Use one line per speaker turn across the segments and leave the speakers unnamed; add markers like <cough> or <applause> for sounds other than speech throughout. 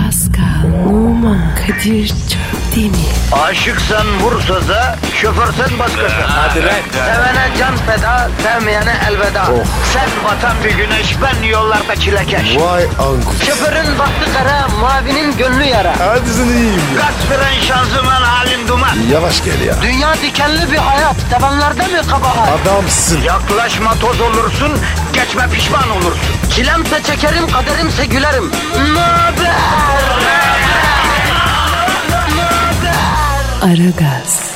Pascal, Oman, Kadir çok değil mi?
Aşıksan vursa da şoförsen başkasın.
Ee.
Hadi lan.
Sevene can feda, sevmeyene elveda. Sen batan bir güneş, ben yollarda çilekeş.
Vay anku.
Şoförün baktı kara, mavinin gönlü yara.
Hadi sen iyiyim ya.
Kasperen şanzıman halin duman.
Yavaş gel ya.
Dünya dikenli bir hayat, sevenlerde mi kabahar?
Adamsın.
Yaklaşma toz olursun, geçme pişman olursun. Çilemse çekerim, kaderimse gülerim. Möber!
Aragaz,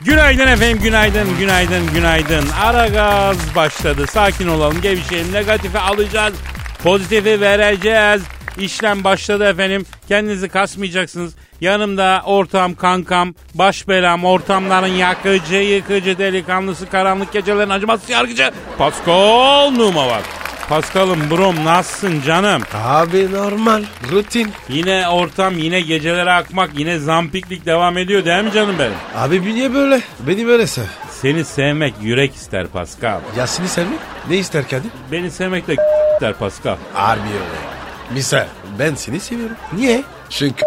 Günaydın efendim, günaydın, günaydın, günaydın. Ara gaz başladı. Sakin olalım, gevşeyelim. Negatifi alacağız, pozitifi vereceğiz. İşlem başladı efendim. Kendinizi kasmayacaksınız. Yanımda ortam, kankam, baş belam, ortamların yakıcı, yıkıcı, delikanlısı, karanlık gecelerin acımasız yargıcı. Pascal Numa var. Pascal'ım, brom, nasılsın canım?
Abi normal. Rutin.
Yine ortam, yine gecelere akmak, yine zampiklik devam ediyor değil mi canım benim?
Abi bir niye böyle? Beni böyle sev.
Seni sevmek yürek ister Pascal.
Yasin'i sevmek ne ister kendi?
Beni sevmek de der Pascal.
Harbi öyle. Misal ben seni seviyorum. Niye? Çünkü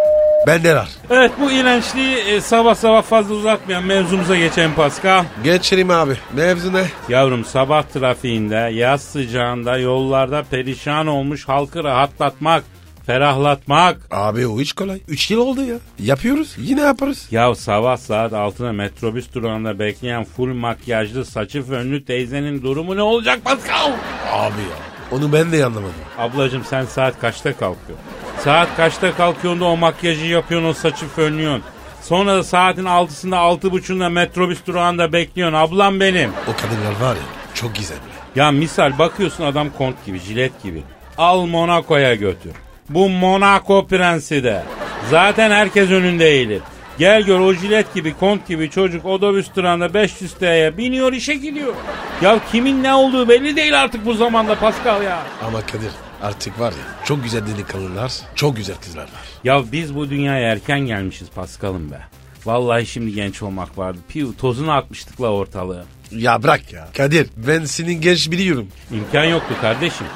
benden ar.
Evet bu iğrençliği e, sabah sabah fazla uzatmayan mevzumuza geçelim Pascal.
Geçelim abi. Mevzu ne?
Yavrum sabah trafiğinde, yaz sıcağında, yollarda perişan olmuş halkı rahatlatmak, ferahlatmak.
Abi o hiç kolay. 3 yıl oldu ya. Yapıyoruz. Yine yaparız.
Ya sabah saat altına metrobüs durağında bekleyen full makyajlı saçı fönlü teyzenin durumu ne olacak Pascal?
Abi ya. Onu ben de anlamadım.
Ablacım sen saat kaçta kalkıyorsun? Saat kaçta kalkıyorsun da o makyajı yapıyorsun, o saçı fönlüyorsun. Sonra da saatin altısında, altı buçuğunda metrobüs durağında bekliyorsun. Ablam benim.
O kadınlar var ya çok gizemli.
Ya misal bakıyorsun adam kont gibi, jilet gibi. Al Monaco'ya götür. Bu Monaco prensi de. Zaten herkes önünde eğilir. Gel gör o jilet gibi, kont gibi çocuk otobüs durağında 500 TL'ye biniyor işe gidiyor. Ya kimin ne olduğu belli değil artık bu zamanda Pascal ya.
Ama Kadir artık var ya çok güzel delikanlılar, çok güzel kızlar var.
Ya biz bu dünyaya erken gelmişiz Paskal'ım be. Vallahi şimdi genç olmak vardı. Piu tozunu atmıştık la ortalığı.
Ya bırak ya. Kadir ben senin genç biliyorum.
İmkan yoktu kardeşim.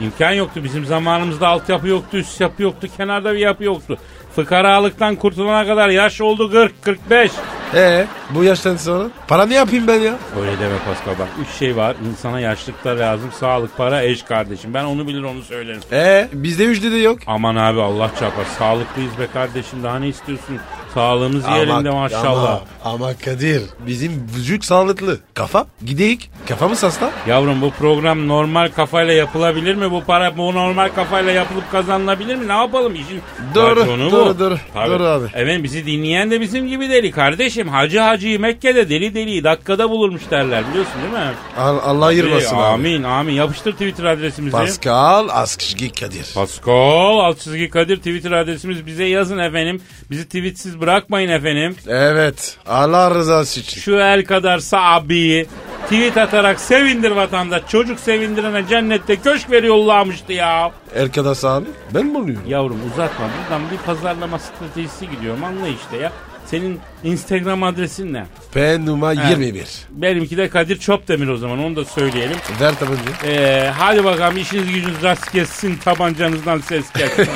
İmkan yoktu. Bizim zamanımızda altyapı yoktu, üst yapı yoktu, kenarda bir yapı yoktu. Fıkaralıktan kurtulana kadar yaş oldu 40-45.
Ee bu yaştan sonra para ne yapayım ben ya?
Öyle deme Pascal bak. Üç şey var. İnsana yaşlıkta lazım. Sağlık, para, eş kardeşim. Ben onu bilir onu söylerim.
Ee bizde üçlü de yok.
Aman abi Allah çarpar. Sağlıklıyız be kardeşim. Daha ne istiyorsun? Sağlığımız yerinde maşallah.
Ama, ama Kadir bizim vücut sağlıklı. Kafa gideyik. Kafamız hasta.
Yavrum bu program normal kafayla yapılabilir mi? Bu para bu normal kafayla yapılıp kazanılabilir mi? Ne yapalım işin?
Doğru,
raconu
doğru, doğru. Doğru abi.
Efendim bizi dinleyen de bizim gibi deli kardeşim. Hacı Hacı'yı Mekke'de deli deliyi dakikada bulurmuş derler biliyorsun değil mi?
Al- Allah ayırmasın
Ee,
abi.
amin amin. Yapıştır Twitter adresimizi.
Pascal Askışgi Kadir.
Pascal alt çizgi Kadir Twitter adresimiz bize yazın efendim. Bizi tweetsiz bırakmayın efendim.
evet. Allah rızası için.
Şu el kadar abiyi tweet atarak sevindir vatandaş. Çocuk sevindirene cennette köşk veriyor Allah'mıştı ya.
Erkadas abi ben mi oluyorum?
Yavrum uzatma buradan bir pazarlama stratejisi gidiyorum anla işte ya. Senin Instagram adresin ne?
P numara 21.
Benimki de Kadir Çopdemir o zaman onu da söyleyelim.
Ver tabanca.
Ee, hadi bakalım işiniz gücünüz rast kessin tabancanızdan ses gelsin.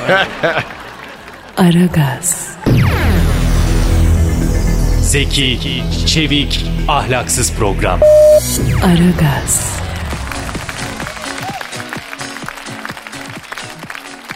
Aragaz,
Zeki, çevik, ahlaksız program.
Aragaz,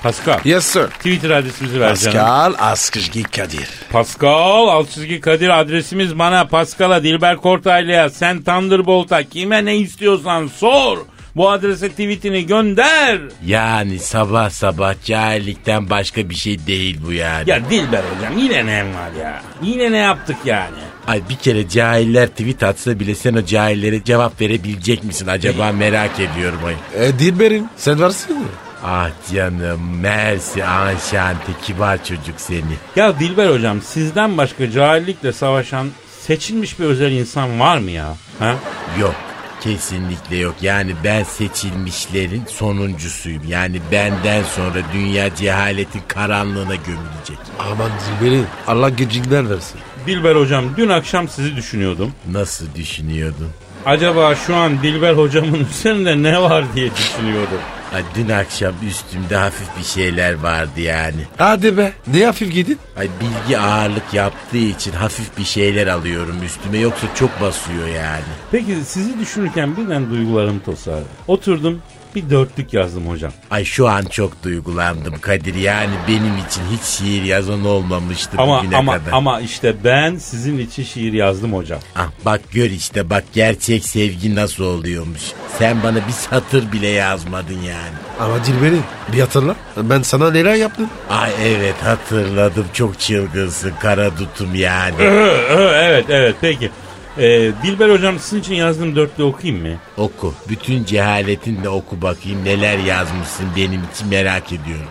Pascal
Yes sir.
Twitter adresimizi ver canım.
Pascal Askışgi Kadir.
Pascal alt çizgi Kadir adresimiz bana Pascal'a Dilber Kortaylı'ya sen Thunderbolt'a kime ne istiyorsan sor. Bu adrese tweetini gönder.
Yani sabah sabah cahillikten başka bir şey değil bu yani.
Ya Dilber hocam yine ne var ya? Yine ne yaptık yani?
Ay bir kere cahiller tweet atsa bile sen o cahillere cevap verebilecek misin acaba merak ediyorum ay.
E, Dilber'im sen varsın mı?
Ah canım mersi anşante kibar çocuk seni.
Ya Dilber hocam sizden başka cahillikle savaşan seçilmiş bir özel insan var mı ya? Ha?
Yok kesinlikle yok yani ben seçilmişlerin sonuncusuyum. Yani benden sonra dünya cehaletin karanlığına gömülecek.
Aman Dilber'im Allah gecinden versin.
Dilber hocam dün akşam sizi düşünüyordum.
Nasıl düşünüyordun?
Acaba şu an Dilber hocamın <laughs> üzerinde ne var diye düşünüyordum.
Ay, dün akşam üstümde hafif bir şeyler vardı yani.
Hadi be. Ne hafif gidin?
Ay bilgi ağırlık yaptığı için hafif bir şeyler alıyorum üstüme yoksa çok basıyor yani.
Peki sizi düşünürken birden duygularım tosardı. Oturdum bir dörtlük yazdım hocam.
Ay şu an çok duygulandım Kadir yani benim için hiç şiir yazan olmamıştı
Ama
bugüne
ama
kadar.
ama işte ben sizin için şiir yazdım hocam.
Ah, bak gör işte bak gerçek sevgi nasıl oluyormuş. Sen bana bir satır bile yazmadın yani.
Ama Dilber'i bir hatırla. Ben sana neler yaptım?
Ay evet hatırladım çok çılgınsın kara dutum yani.
Ö, ö, evet evet peki. Ee, Dilber hocam sizin için yazdığım dörtlü okuyayım mı?
oku bütün cehaletinle oku bakayım neler yazmışsın benim için merak ediyorum.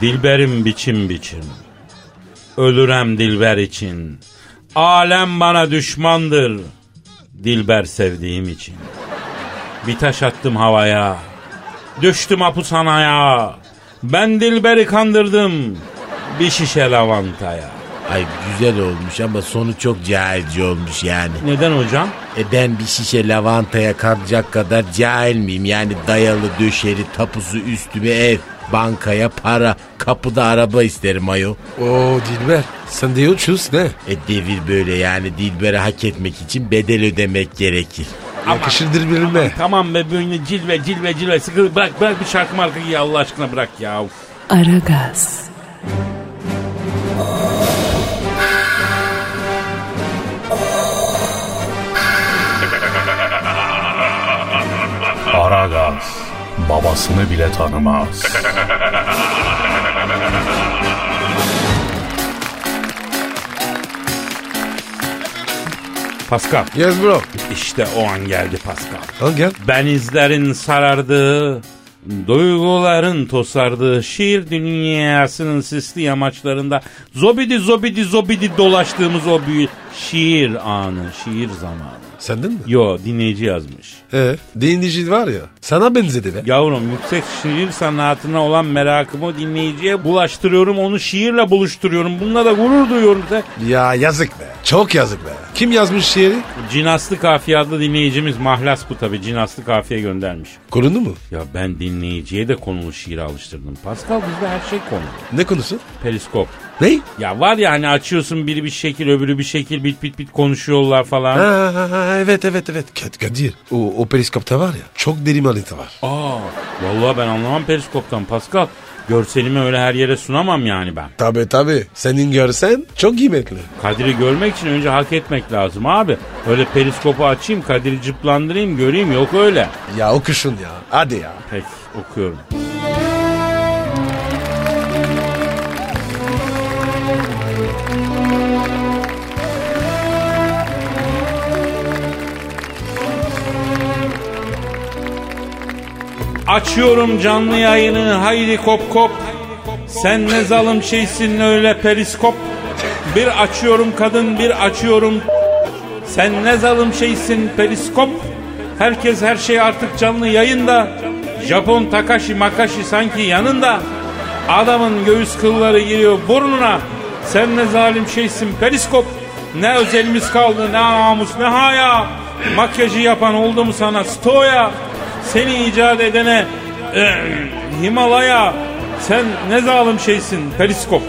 Dilberim biçim biçim. Ölürem Dilber için. Alem bana düşmandır. Dilber sevdiğim için. Bir taş attım havaya. Düştüm hapishanaya. Ben Dilber'i kandırdım. Bir şişe lavantaya.
Ay güzel olmuş ama sonu çok cahilce olmuş yani.
Neden hocam?
E ben bir şişe lavantaya kalacak kadar cahil miyim? Yani dayalı döşeli tapusu üstüme ev, bankaya para, kapıda araba isterim ayo.
Oo Dilber. Sen de uçuz ne?
E devir böyle yani Dilber'e hak etmek için bedel ödemek gerekir.
Yakışır Dilber'ime.
Tamam be böyle cilve cilve cilve sıkı bırak bırak bir şarkı markayı ya Allah aşkına bırak ya.
Aragaz,
Aragaz babasını bile tanımaz.
Pascal
Yes bro.
işte o an geldi Pascal.
Al gel.
Benizlerin sarardığı, duyguların tosardığı şiir dünyasının sisli yamaçlarında zobidi zobidi zobidi dolaştığımız o büyük şiir anı, şiir zamanı.
Sendin mi?
Yo dinleyici yazmış.
Ee, dinleyici var ya. Sana benzedi be.
Yavrum yüksek şiir sanatına olan merakımı dinleyiciye bulaştırıyorum. Onu şiirle buluşturuyorum. Bununla da gurur duyuyorum. Sen-
Ya yazık be. Çok yazık be. Kim yazmış şiiri?
Cinaslı Kafiye adlı dinleyicimiz Mahlas bu tabi. Cinaslı Kafiye göndermiş.
Korundu mu?
Ya ben dinleyiciye de konulu şiir alıştırdım. Pascal bizde her şey konu.
Ne konusu?
Periskop.
Ney?
Ya var ya hani açıyorsun biri bir şekil öbürü bir şekil bit bit bit konuşuyorlar falan.
Ha, evet evet evet. Kat- Kadir. O, o periskopta var ya. Çok derin manita var.
Aa vallahi ben anlamam periskoptan Pascal. Görselimi öyle her yere sunamam yani ben.
Tabi tabi. Senin görsen çok kıymetli.
Kadir'i görmek için önce hak etmek lazım abi. Öyle periskopu açayım Kadir'i cıplandırayım göreyim yok öyle.
Ya okuşun ya. Hadi ya.
Peki okuyorum. Açıyorum canlı yayını haydi kop kop. Sen ne zalim şeysin öyle periskop. Bir açıyorum kadın bir açıyorum. Sen ne zalim şeysin periskop. Herkes her şey artık canlı yayında. Japon Takashi Makashi sanki yanında. Adamın göğüs kılları giriyor burnuna. Sen ne zalim şeysin periskop. Ne özelimiz kaldı ne namus ne haya. Makyajı yapan oldu mu sana stoya. Seni icat edene eh, Himalaya. Sen ne zalim şeysin periskop.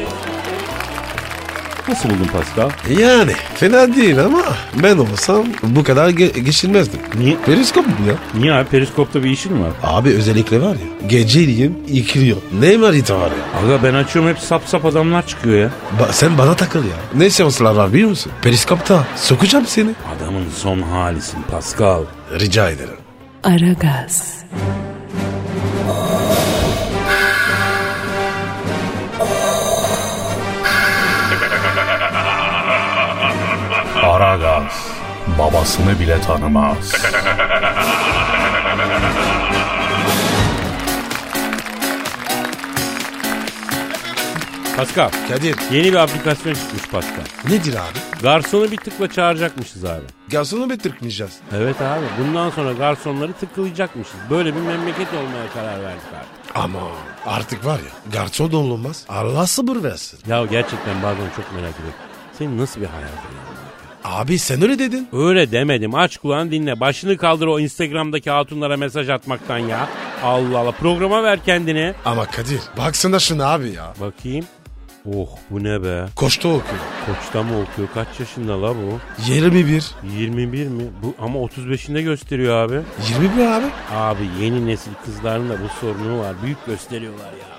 Nasıl buldun Pascal?
Yani fena değil ama ben olsam bu kadar ge- geçilmezdim.
Niye?
Periskop mu ya?
Niye abi periskopta bir işin var?
Abi özellikle var ya. Geceliğin yıkılıyor. Ne manita var ya?
Aga ben açıyorum hep sap sap adamlar çıkıyor ya.
Ba- sen bana takıl ya. Ne seanslar var biliyor musun? Periskopta sokacağım seni.
Adamın son halisin Pascal.
Rica ederim.
Aragaz,
Aragaz babasını bile tanımaz.
Pascal
Kadir
yeni bir aplikasyon çıkmış Pascal.
nedir abi?
Garsonu bir tıkla çağıracakmışız abi.
Garsonu bir tırkmayacağız.
Evet abi bundan sonra garsonları tıklayacakmışız. Böyle bir memleket olmaya karar verdik abi.
Ama artık var ya garson da olmaz. Allah sabır versin.
Ya gerçekten bazen çok merak ediyorum. Senin nasıl bir hayatın ya?
Abi sen öyle dedin.
Öyle demedim. Aç kulağını dinle. Başını kaldır o Instagram'daki hatunlara mesaj atmaktan ya. Allah Allah. Programa ver kendini.
Ama Kadir baksana şuna abi ya.
Bakayım. Oh bu ne be?
Koçta okuyor.
Koçta mı okuyor? Kaç yaşında la bu?
21.
21 mi? Bu ama 35'inde gösteriyor abi.
21 abi.
Abi yeni nesil kızların da bu sorunu var. Büyük gösteriyorlar ya.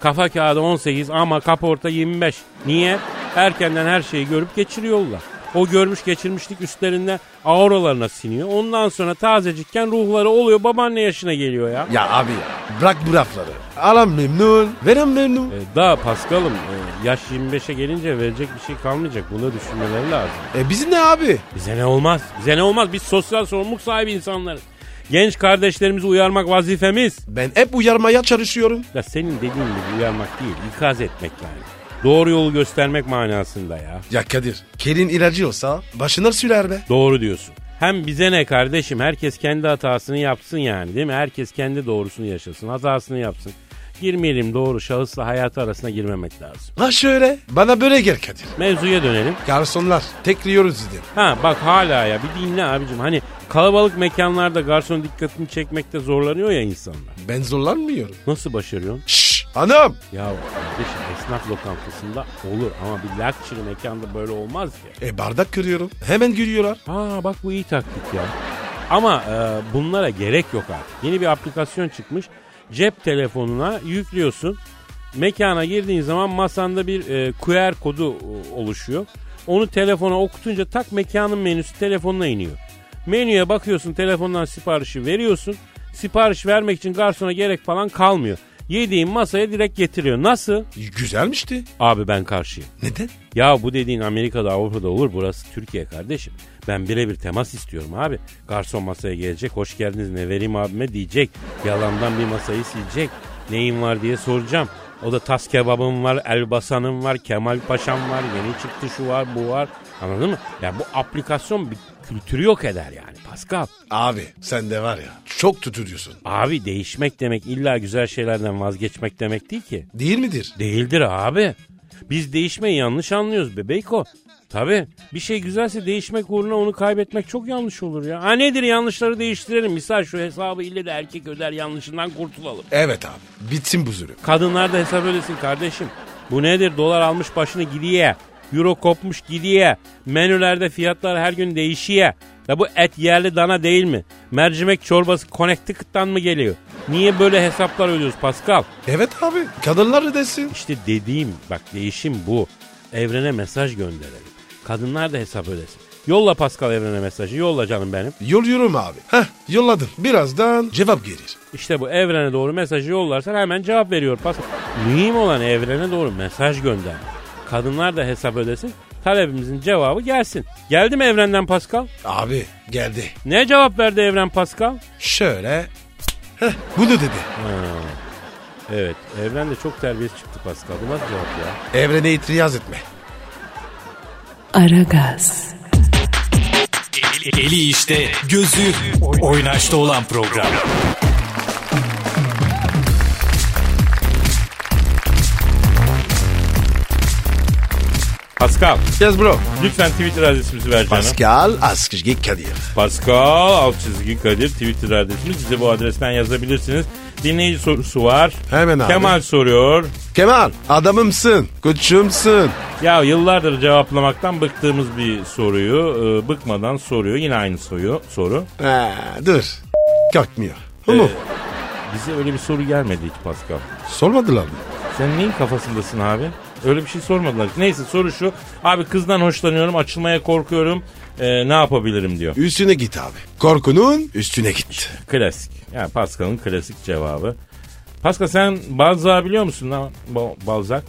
Kafa kağıdı 18 ama kaporta 25. Niye? Erkenden her şeyi görüp geçiriyorlar. O görmüş geçirmişlik üstlerinde auralarına siniyor. Ondan sonra tazecikken ruhları oluyor babaanne yaşına geliyor ya.
Ya abi ya bırak bu lafları. Alam memnun. Verem memnun.
E, daha Paskal'ım e, yaş 25'e gelince verecek bir şey kalmayacak. Bunu da düşünmeleri lazım.
E bizim ne abi?
Bize ne olmaz? Bize ne olmaz? Biz sosyal sorumluluk sahibi insanlarız. Genç kardeşlerimizi uyarmak vazifemiz.
Ben hep uyarmaya çalışıyorum.
Ya senin dediğin gibi uyarmak değil, ikaz etmek yani. Doğru yolu göstermek manasında ya.
Ya Kadir kelin ilacı olsa başına sürer be.
Doğru diyorsun. Hem bize ne kardeşim herkes kendi hatasını yapsın yani değil mi? Herkes kendi doğrusunu yaşasın, hatasını yapsın. Girmeyelim doğru şahısla hayatı arasına girmemek lazım.
Ha şöyle bana böyle gel Kadir.
Mevzuya dönelim.
Garsonlar tekliyoruz sizin.
Ha bak hala ya bir dinle abicim. Hani kalabalık mekanlarda garson dikkatini çekmekte zorlanıyor ya insanlar.
Ben zorlanmıyorum.
Nasıl başarıyorsun?
Şşş hanım.
Ya kardeşim esnaf lokantasında olur ama bir lakçırı mekanda böyle olmaz ya.
E bardak kırıyorum. Hemen gülüyorlar.
Aa bak bu iyi taktik ya. Ama e, bunlara gerek yok artık. Yeni bir aplikasyon çıkmış. Cep telefonuna yüklüyorsun. Mekana girdiğin zaman masanda bir e, QR kodu e, oluşuyor. Onu telefona okutunca tak mekanın menüsü telefonuna iniyor. Menüye bakıyorsun telefondan siparişi veriyorsun. Sipariş vermek için garsona gerek falan kalmıyor. Yediğin masaya direkt getiriyor. Nasıl?
Güzelmişti.
Abi ben karşıyım.
Neden?
Ya bu dediğin Amerika'da Avrupa'da olur burası Türkiye kardeşim. Ben birebir temas istiyorum abi. Garson masaya gelecek hoş geldiniz ne vereyim abime diyecek. Yalandan bir masayı silecek. Neyin var diye soracağım. O da tas kebabım var, elbasanım var, Kemal Paşam var, yeni çıktı şu var, bu var. Anladın mı? Ya bu aplikasyon bir kültürü yok eder yani Pascal.
Abi sen de var ya çok tutuyorsun.
Abi değişmek demek illa güzel şeylerden vazgeçmek demek değil ki.
Değil midir?
Değildir abi. Biz değişmeyi yanlış anlıyoruz bebeyko. Tabi bir şey güzelse değişmek uğruna onu kaybetmek çok yanlış olur ya. Ha nedir yanlışları değiştirelim. Misal şu hesabı ille de erkek öder yanlışından kurtulalım.
Evet abi bitsin bu zulüm.
Kadınlar da hesap ödesin kardeşim. Bu nedir dolar almış başını gidiye. Euro kopmuş gidiye. Menülerde fiyatlar her gün değişiye. Ya bu et yerli dana değil mi? Mercimek çorbası Connecticut'tan mı geliyor? Niye böyle hesaplar ödüyoruz Pascal?
Evet abi kadınlar ödesin.
İşte dediğim bak değişim bu. Evrene mesaj gönderelim. Kadınlar da hesap ödesin. Yolla Pascal evrene mesajı yolla canım benim.
Yolluyorum abi. Heh yolladım. Birazdan cevap gelir.
İşte bu evrene doğru mesajı yollarsan hemen cevap veriyor Pascal. Mühim olan evrene doğru mesaj gönder. Kadınlar da hesap ödesin. Talebimizin cevabı gelsin. Geldi mi evrenden Pascal?
Abi geldi.
Ne cevap verdi evren Pascal?
Şöyle. Heh bunu dedi.
Evet evrende çok terbiyesiz çıktı Pascal. Bu nasıl cevap ya?
Evrene itiraz etme.
Aragaz,
Eli işte, gözü oynaşta olan program.
Pascal
Yes bro.
lütfen Twitter adresimizi ver canım.
Pascal Askışgi Kadir.
Pascal alt çizgi Kadir Twitter adresimiz. Size bu adresten yazabilirsiniz. Dinleyici sorusu var.
Hemen abi.
Kemal soruyor.
Kemal adamımsın. Koçumsun.
Ya yıllardır cevaplamaktan bıktığımız bir soruyu e, bıkmadan soruyor. Yine aynı soru. soru.
Ha, dur. Kalkmıyor. Oğlum
Bize öyle bir soru gelmedi hiç Pascal.
sormadılar mı?
Sen neyin kafasındasın abi? Öyle bir şey sormadılar. Neyse soru şu. Abi kızdan hoşlanıyorum, açılmaya korkuyorum. E, ne yapabilirim diyor.
Üstüne git abi. Korkunun üstüne git.
Klasik. Yani Pascal'ın klasik cevabı. Pascal sen Balzac'ı biliyor musun lan? Ba- Balzac.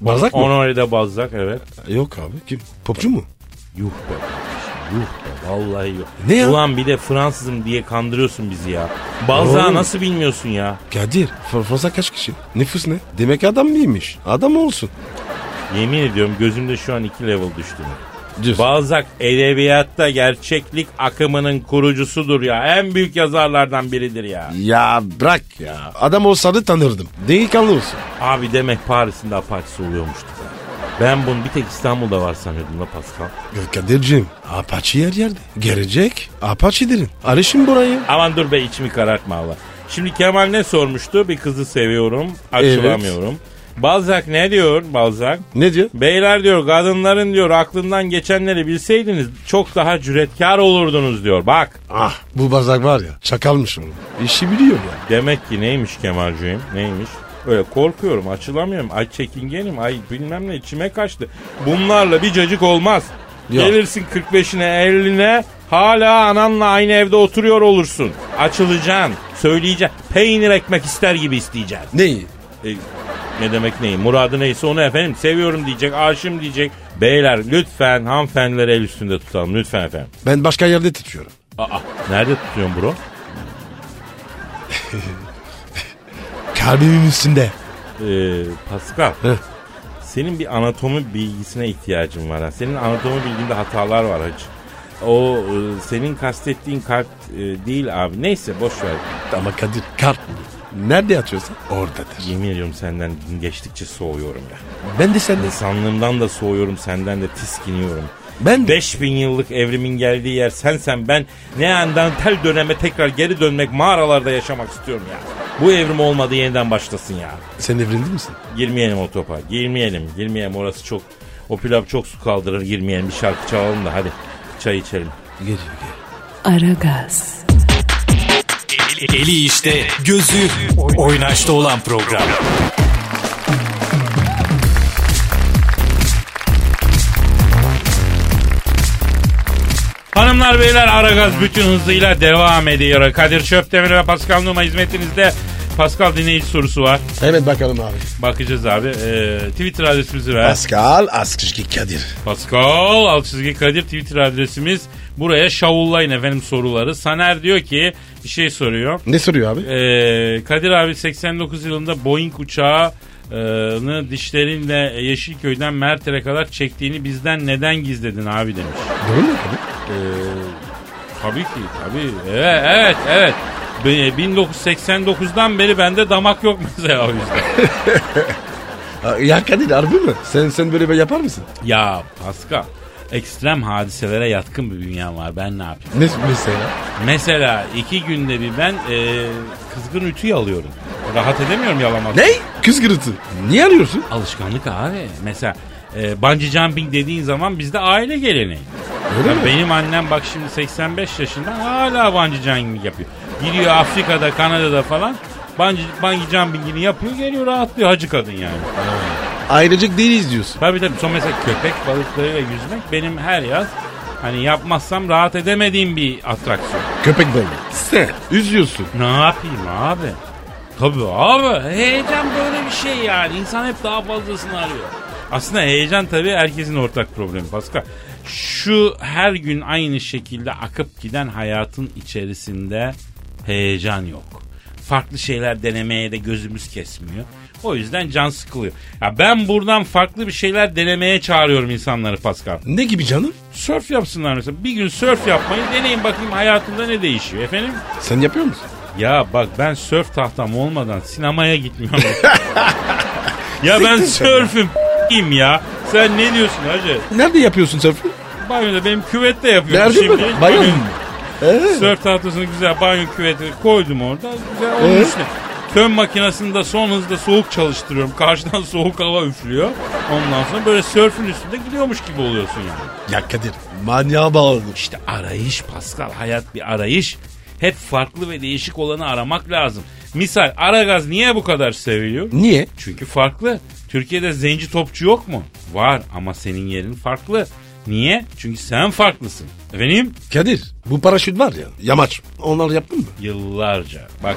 Bazak mı?
Honoré de Balzac evet.
Yok abi kim? Popçu mu?
Yuh be kardeşim, yuh be vallahi yuh.
Ne ya?
Ulan bir de Fransızım diye kandırıyorsun bizi ya. Balzac'ı
Oğlum.
nasıl bilmiyorsun ya?
Kadir. Fransa kaç kişi? Nüfus ne? Demek adam mıymış? Adam olsun.
Yemin ediyorum gözümde şu an iki level düştü.
Düz.
Balzac edebiyatta gerçeklik akımının kurucusudur ya. En büyük yazarlardan biridir ya.
ya bırak ya. Adam olsaydı tanırdım. Delikanlı olsun.
Abi demek Paris'in de apaçısı oluyormuştu. zaten. Ben bunu bir tek İstanbul'da var sanıyordum la Pascal.
Kadir'cim Apache yer yerde. Gelecek Apache derin. Arışın burayı.
Aman dur be içimi karartma Allah. Şimdi Kemal ne sormuştu? Bir kızı seviyorum, açılamıyorum. Balzak ne diyor Balzak?
Ne diyor?
Beyler diyor kadınların diyor aklından geçenleri bilseydiniz çok daha cüretkar olurdunuz diyor. Bak
Ah bu bazak var ya çakalmış oğlum. İşi biliyor ya.
demek ki neymiş Kemal'cüğüm neymiş? Öyle korkuyorum açılamıyorum ay çekingenim ay bilmem ne içime kaçtı. Bunlarla bir cacık olmaz.
Yok.
Gelirsin 45'ine 50'ne hala ananla aynı evde oturuyor olursun. Açılacaksın söyleyeceksin peynir ekmek ister gibi isteyeceksin.
Neyi?
E, ne demek neyi? Muradı neyse onu efendim seviyorum diyecek, aşığım diyecek. Beyler lütfen hanımefendileri el üstünde tutalım lütfen efendim.
Ben başka yerde tutuyorum.
Aa nerede tutuyorsun bro?
Kalbimin üstünde.
Ee, Pascal.
Heh.
Senin bir anatomi bilgisine ihtiyacın var. Ha. Senin anatomi bilginde hatalar var hacı. O e, senin kastettiğin kalp e, değil abi. Neyse boş ver.
Ama Kadir kalp Nerede atıyorsan oradadır.
Yemin ediyorum senden gün geçtikçe soğuyorum ya.
Ben de sende.
İnsanlığımdan da soğuyorum, senden de tiskiniyorum.
Ben de.
5000 yıllık evrimin geldiği yer sensen ben neandertal döneme tekrar geri dönmek mağaralarda yaşamak istiyorum ya. Bu evrim olmadı yeniden başlasın ya.
Sen evrindi misin?
Girmeyelim o topa. Girmeyelim. Girmeyelim orası çok. O pilav çok su kaldırır. Girmeyelim. Bir şarkı çalalım da hadi. Çay içelim.
Geliyor gel.
Aragaz,
Eli, eli işte, gözü oynaşta olan program.
Hanımlar beyler Aragaz bütün hızıyla devam ediyor. Kadir Şöptemir ve Pascal Numa hizmetinizde. Pascal dinleyici sorusu var.
Hemen bakalım abi.
Bakacağız abi. Ee, Twitter adresimizi ver.
Pascal Askışki Kadir.
Pascal alt çizgi Kadir Twitter adresimiz. Buraya şavullayın efendim soruları. Saner diyor ki bir şey soruyor.
Ne soruyor abi?
Ee, Kadir abi 89 yılında Boeing uçağını dişlerinle Yeşilköy'den Mert'e kadar çektiğini bizden neden gizledin abi demiş. Ee,
Doğru mu abi?
Tabii ki tabii. Evet evet evet. Be- e, 1989'dan beri bende damak yok mesela o yüzden.
Ha, Ya Kadir harbi mi? Sen sen böyle bir yapar mısın?
ya Pascal ekstrem hadiselere yatkın bir bünyem var ben ne yapayım?
Ne mesela?
Mesela iki günde bir ben e, kızgın ütüyü alıyorum. Rahat edemiyorum yalamak.
Ne? Kız gırıltı. Niye arıyorsun?
Alışkanlık abi. Mesela e, bungee jumping dediğin zaman bizde aile geleneği. Ya benim annem bak şimdi 85 yaşında hala bungee jumping yapıyor. Gidiyor Afrika'da, Kanada'da falan bungee, bungee jumpingini yapıyor geliyor rahatlıyor hacı kadın yani.
Ailecek değiliz diyorsun.
Tabii tabii son mesela köpek balıklarıyla yüzmek benim her yaz hani yapmazsam rahat edemediğim bir atraksiyon.
Köpek balığı. Sen üzüyorsun.
Ne yapayım abi? Tabii abi. Heyecan böyle bir şey yani. İnsan hep daha fazlasını arıyor. Aslında heyecan tabii herkesin ortak problemi Pascal. Şu her gün aynı şekilde akıp giden hayatın içerisinde heyecan yok. Farklı şeyler denemeye de gözümüz kesmiyor. O yüzden can sıkılıyor. Ya ben buradan farklı bir şeyler denemeye çağırıyorum insanları Pascal.
Ne gibi canım?
Sörf yapsınlar mesela. Bir gün sörf yapmayı deneyin bakayım hayatında ne değişiyor efendim.
Sen yapıyor musun?
Ya bak ben sörf tahtam olmadan
<laughs>
sinemaya gitmiyorum. ya ben
Siktir sen
sörfüm kim ya. Sen ne diyorsun hacı?
Nerede yapıyorsun sörfü?
Banyoda benim küvette yapıyorum
Nerede
şimdi.
mi? Bayan mı? Ee?
Sörf tahtasını güzel banyo küvetine koydum orada. Güzel onun
Ee?
üstüne. Fön makinesini de son hızda soğuk çalıştırıyorum. Karşıdan <laughs> soğuk hava üflüyor. Ondan sonra böyle sörfün üstünde gidiyormuş gibi oluyorsun yani.
Ya Kadir manyağa bağladın.
İşte arayış Pascal hayat bir arayış. Hep farklı ve değişik olanı aramak lazım. Misal Aragaz niye bu kadar seviliyor?
Niye?
Çünkü farklı. Türkiye'de zenci topçu yok mu? Var ama senin yerin farklı. Niye? Çünkü sen farklısın. Efendim?
Kadir bu paraşüt var ya yamaç. Onlar yaptın mı?
Yıllarca. Bak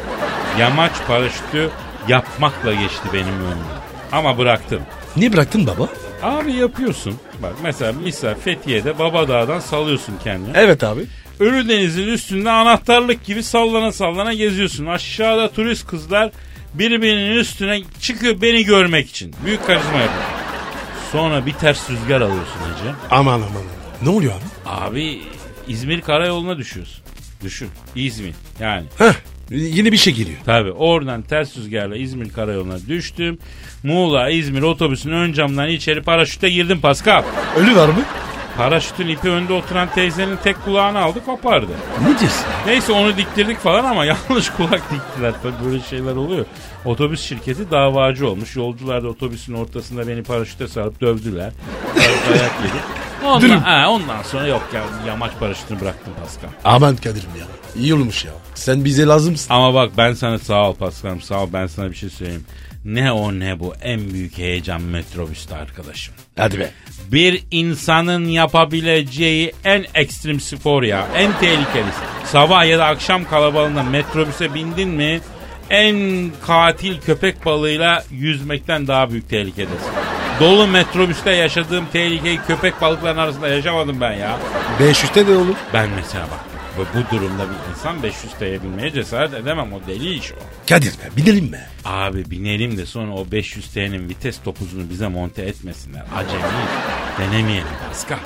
yamaç paraşütü yapmakla geçti benim ömrüm. Ama bıraktım.
Niye bıraktın baba?
Abi yapıyorsun. Bak mesela misal Fethiye'de Babadağ'dan salıyorsun kendini.
Evet abi.
Ölü denizin üstünde anahtarlık gibi sallana sallana geziyorsun. Aşağıda turist kızlar birbirinin üstüne çıkıyor beni görmek için. Büyük karizma yapıyor. Sonra bir ters rüzgar alıyorsun hacı.
Aman aman. Ne oluyor abi?
Abi İzmir Karayolu'na düşüyorsun. Düşün. İzmir yani.
Heh. Yine bir şey geliyor.
Tabi oradan ters rüzgarla İzmir karayoluna düştüm. Muğla İzmir otobüsünün ön camdan içeri paraşütle girdim Pascal.
Ölü var mı?
Paraşütün ipi önde oturan teyzenin tek kulağını aldı kopardı.
Ne diyorsun?
Neyse onu diktirdik falan ama <laughs> yanlış kulak diktiler. Tabii böyle şeyler oluyor. Otobüs şirketi davacı olmuş. Yolcular da otobüsün ortasında beni paraşüte sarıp dövdüler. Sarıp Dayak yedik. Ondan, ha, ondan sonra yok ya yamaç paraşütünü bıraktım Pascal.
Aman Kadir'im ya. İyi olmuş ya. Sen bize lazımsın.
Ama bak ben sana sağ ol Pascal'ım sağ ol ben sana bir şey söyleyeyim. Ne o ne bu en büyük heyecan metrobüste arkadaşım.
Hadi be.
Bir insanın yapabileceği en ekstrem spor ya. En tehlikelisi. Sabah ya da akşam kalabalığında metrobüse bindin mi en katil köpek balığıyla yüzmekten daha büyük tehlikedesin. Dolu metrobüste yaşadığım tehlikeyi köpek balıkların arasında yaşamadım ben ya.
500'te de olur.
Ben mesela bak bu, bu durumda bir insan 500 TL'ye binmeye cesaret edemem o deli iş o.
Kadir be binelim be.
Abi binelim de sonra o 500 TL'nin vites topuzunu bize monte etmesinler. Acemi denemeyelim Pascal.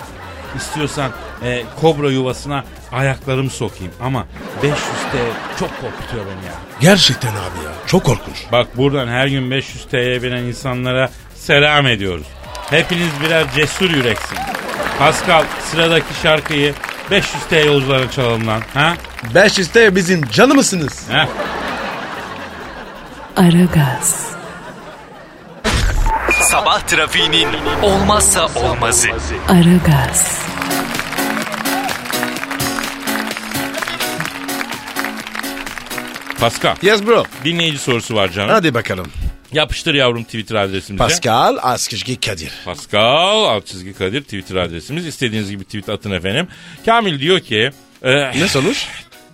İstiyorsan e, kobra yuvasına ayaklarımı sokayım ama 500 TL çok korkutuyor beni ya.
Gerçekten abi ya. Çok korkunç.
Bak buradan her gün 500 TL'ye binen insanlara selam ediyoruz. Hepiniz birer cesur yüreksiniz. Pascal sıradaki şarkıyı 500 TL yolculara çalalım lan. Ha?
500'te bizim canımısınız.
Ha?
Aragaz,
Sabah trafiğinin olmazsa olmazı.
Aragaz,
Pascal
Yes bro.
dinleyici sorusu var canım.
Hadi bakalım.
Yapıştır yavrum Twitter adresimize.
Pascal Askışki Kadir.
Pascal alt çizgi Kadir Twitter adresimiz. İstediğiniz gibi tweet atın efendim. Kamil diyor ki e,
Ne sonuç?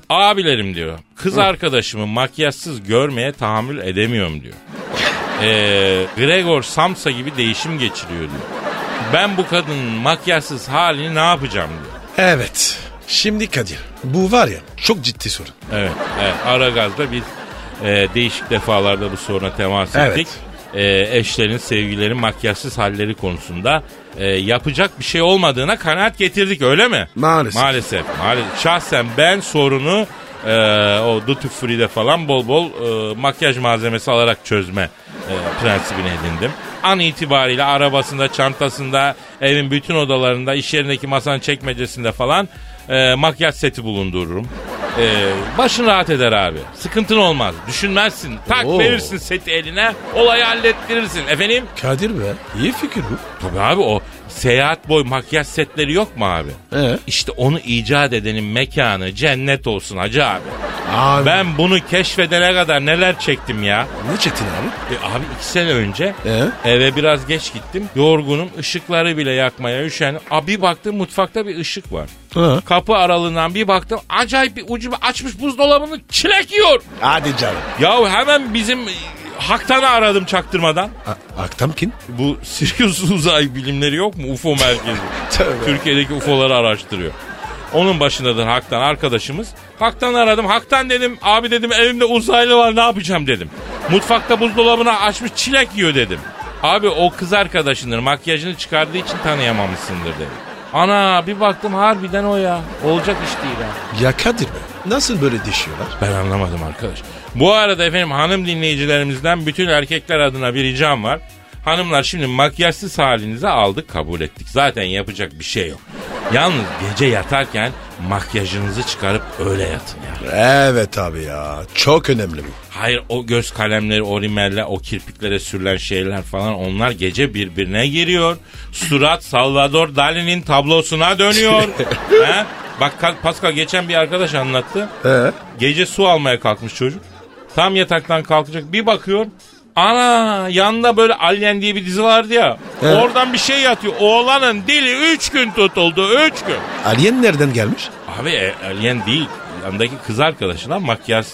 abilerim diyor kız arkadaşımı makyajsız görmeye tahammül edemiyorum diyor. E, Gregor Samsa gibi değişim geçiriyor diyor. Ben bu kadının makyajsız halini ne yapacağım diyor.
Evet. Şimdi Kadir. Bu var ya çok ciddi sorun.
Evet, evet. Ara gazda biz e, değişik defalarda bu soruna temas
Evet.
ettik. E, eşlerin, sevgilerin makyajsız halleri konusunda e, yapacak bir şey olmadığına kanaat getirdik öyle mi?
Maalesef.
Maalesef. maalesef. Şahsen ben sorunu e, o Duty Free'de falan bol bol e, makyaj malzemesi alarak çözme e, prensibine edindim. An itibariyle arabasında, çantasında, evin bütün odalarında, iş yerindeki masanın çekmecesinde falan e, makyaj seti bulundururum. E, başın rahat eder abi. Sıkıntın olmaz. Düşünmezsin. Tak
Oo.
verirsin seti eline. Olayı hallettirirsin. Efendim?
Kadir be. İyi fikir bu.
Tabii abi o seyahat boy makyaj setleri yok mu abi?
Ee?
İşte onu icat edenin mekanı cennet olsun hacı abi.
Abi.
Ben bunu keşfedene kadar neler çektim ya.
Ne çetin abi?
E abi iki sene önce
Ee?
eve biraz geç gittim. Yorgunum ışıkları bile yakmaya üşendim. Abi bir baktım mutfakta bir ışık var.
Ha.
Kapı aralığından bir baktım acayip bir ucu açmış buzdolabını çilek yiyor.
Hadi canım.
Yahu hemen bizim e, Haktan'ı aradım çaktırmadan.
A- Aktam kim?
Bu Sirius <laughs> uzay bilimleri yok mu? UFO merkezi.
Tövbe.
Türkiye'deki UFO'ları araştırıyor. Onun başındadır Hak'tan arkadaşımız. Hak'tan aradım. Hak'tan dedim abi dedim evimde uzaylı var ne yapacağım dedim. Mutfakta buzdolabına açmış çilek yiyor dedim. Abi o kız arkadaşındır makyajını çıkardığı için tanıyamamışsındır dedim. Ana bir baktım harbiden o ya. Olacak iş değil ha.
Ya Kadir be. Nasıl böyle deşiyorlar?
Ben anlamadım arkadaş. Bu arada efendim hanım dinleyicilerimizden bütün erkekler adına bir ricam var. Hanımlar şimdi makyajsız halinizi aldık kabul ettik. Zaten yapacak bir şey yok. Yalnız gece yatarken makyajınızı çıkarıp öyle yatın ya.
Evet abi ya. Çok önemli bu.
Hayır o göz kalemleri, o rimeller, o kirpiklere sürülen şeyler falan onlar gece birbirine giriyor. Surat Salvador Dali'nin tablosuna dönüyor. He? Bak Ka- Pascal geçen bir arkadaş anlattı.
Ee?
Gece su almaya kalkmış çocuk. Tam yataktan kalkacak bir bakıyor. Ana yanında böyle Alien diye bir dizi vardı ya.
Evet.
Oradan bir şey yatıyor. Oğlanın dili 3 gün tutuldu 3 gün.
Alien nereden gelmiş?
Abi e, Alien değil. Yandaki kız arkadaşına makyaj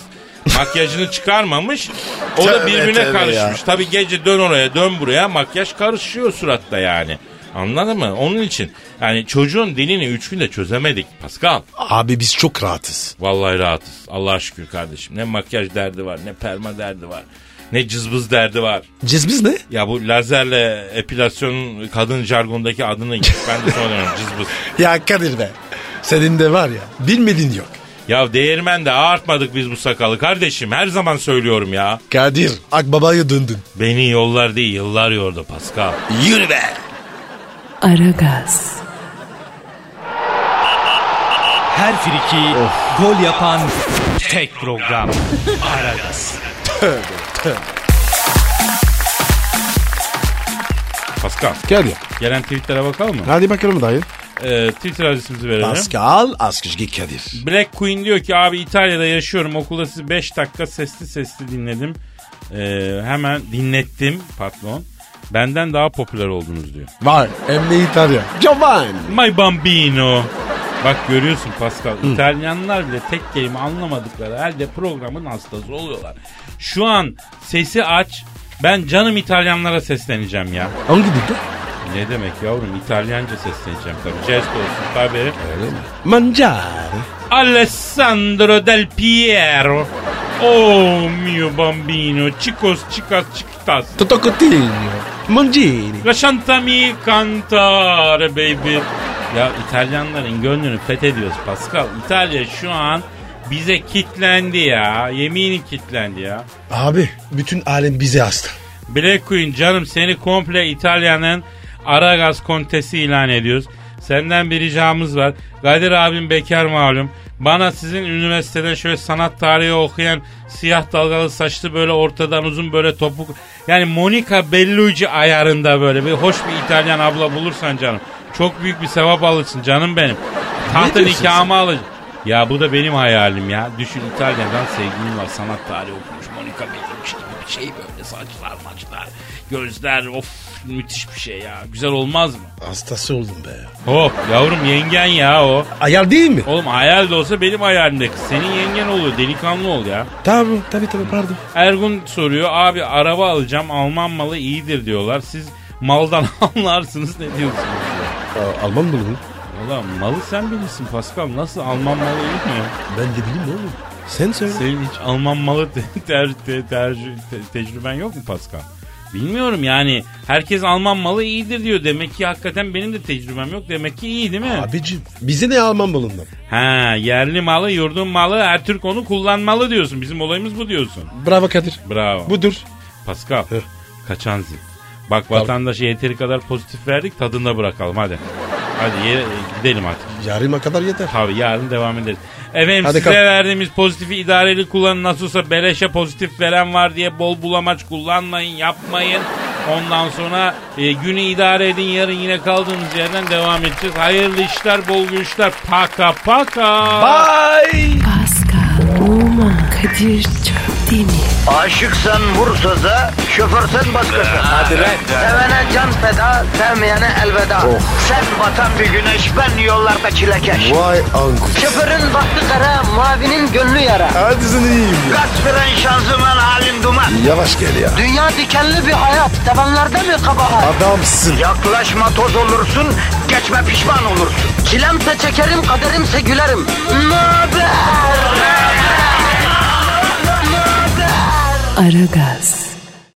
makyajını çıkarmamış. O da
Tövbe,
birbirine
tövbe
karışmış. Tabii gece dön oraya dön buraya makyaj karışıyor suratta yani. Anladın mı? Onun için yani çocuğun dilini 3 günde çözemedik Pascal.
Abi biz çok rahatız.
Vallahi rahatız. Allah'a şükür kardeşim. Ne makyaj derdi var, ne perma derdi var, ne cızbız derdi var.
Cizbiz ne?
Ya bu lazerle epilasyonun kadın jargondaki <laughs> adını ben de sonra dönüyorum cızbız.
Ya Kadir be. Senin de var ya. Bilmediğin yok.
Ya değirmen de artmadık biz bu sakalı kardeşim. Her zaman söylüyorum ya.
Kadir akbabaya döndün.
Beni yollar değil yıllar yordu Pascal.
Yürü be.
Aragaz,
Her friki gol yapan tek program. Aragaz.
Pascal
Kadir.
gelen tweetlere bakalım mı?
Hadi bakalım dayı.
Ee, Twitter adresimizi verelim.
Pascal Askışgi Kadir.
Black Queen diyor ki abi İtalya'da yaşıyorum okulda sizi 5 dakika sesli sesli dinledim. Ee, hemen dinlettim patron. Benden daha popüler oldunuz diyor.
Var. Hem de İtalya. Giovanni.
My bambino. Bak görüyorsun Pascal İtalyanlar bile tek kelime anlamadıkları halde programın hastası oluyorlar. Şu an sesi aç ben canım İtalyanlara sesleneceğim ya.
Hangi dilde?
Ne demek yavrum İtalyanca sesleneceğim tabii. Jest olsun tabii.
Mangiare.
Alessandro Del Piero. Oh mio bambino, chicos, chicas, chiquitas.
Toto Coutinho. Mangini.
Lasciatemi cantare baby. Ya İtalyanların gönlünü fethediyoruz Pascal. İtalya şu an bize kitlendi ya. Yeminim kitlendi ya.
Abi bütün alem bize hasta.
Black Queen canım seni komple İtalya'nın Aragaz kontesi ilan ediyoruz. Senden bir ricamız var. Kadir abim bekar malum. Bana sizin üniversitede şöyle sanat tarihi okuyan siyah dalgalı saçlı böyle ortadan uzun böyle topuk. Yani Monica Bellucci ayarında böyle bir hoş bir İtalyan abla bulursan canım. Çok büyük bir sevap alırsın canım benim. Tahtı
diyorsun
nikahımı alırsın. Ya bu da benim hayalim ya. Düşün İtalya'dan sevgilim var. Sanat tarihi okumuş. Monica Bellucci gibi bir şey böyle. Saçlar maçlar. Gözler of müthiş bir şey ya. Güzel olmaz mı?
Hastası oldum be.
Hop Oh, yavrum yengen ya o.
Ayar değil mi?
Oğlum hayal de olsa benim hayalimde kız. Senin yengen oluyor. Delikanlı ol ya.
Tabii tabii tabii pardon.
Ergun soruyor. Abi araba alacağım. Alman malı iyidir diyorlar. Siz maldan <laughs> anlarsınız ne diyorsunuz?
Alman bunu.
Valla malı sen bilirsin Pascal. Nasıl Alman malı iyi mi?
Ben de bileyim mi oğlum? Sen söyle.
Senin hiç Alman malı te- ter, te- tercü- te- tecrüben yok mu Pascal? Bilmiyorum yani. Herkes Alman malı iyidir diyor. Demek ki hakikaten benim de tecrübem yok. Demek ki iyi değil mi?
Abicim bize ne Alman balından?
Ha yerli malı, yurdun malı, her Türk onu kullanmalı diyorsun. Bizim olayımız bu diyorsun.
Bravo Kadir.
Bravo.
Budur.
Pascal. Kaçan zil. Bak vatandaşa yeteri kadar pozitif verdik tadında bırakalım hadi. Hadi ye- gidelim artık.
Yarıma kadar yeter.
<laughs> Tabii yarın devam ederiz. Efendim
Hadi
size
kap-
verdiğimiz pozitifi idareli kullanın. Nasılsa beleşe pozitif veren var diye bol bulamaç kullanmayın, yapmayın. Ondan sonra e, günü idare edin. Yarın yine kaldığımız yerden devam edeceğiz. Hayırlı işler, bol güçler. Paka paka.
Pascal, Oman, Kadir çok değil mi?
Aşıksan vursa da, şoförsen başkasın. Hadi Sevene can feda, sevmeyene elveda. Sen batan bir güneş, ben yollarda çilekeş.
Vay anku.
Şoförün baktı kara, mavinin gönlü yara.
Hadi sen iyiyim ya.
Kasperen şanzıman halin duman.
Yavaş gel ya.
Dünya dikenli bir hayat, sevenlerde mi kabahar?
Adamsın.
Yaklaşma toz olursun, geçme pişman olursun. Çilemse çekerim, kaderimse gülerim. Möber!
Aragaz.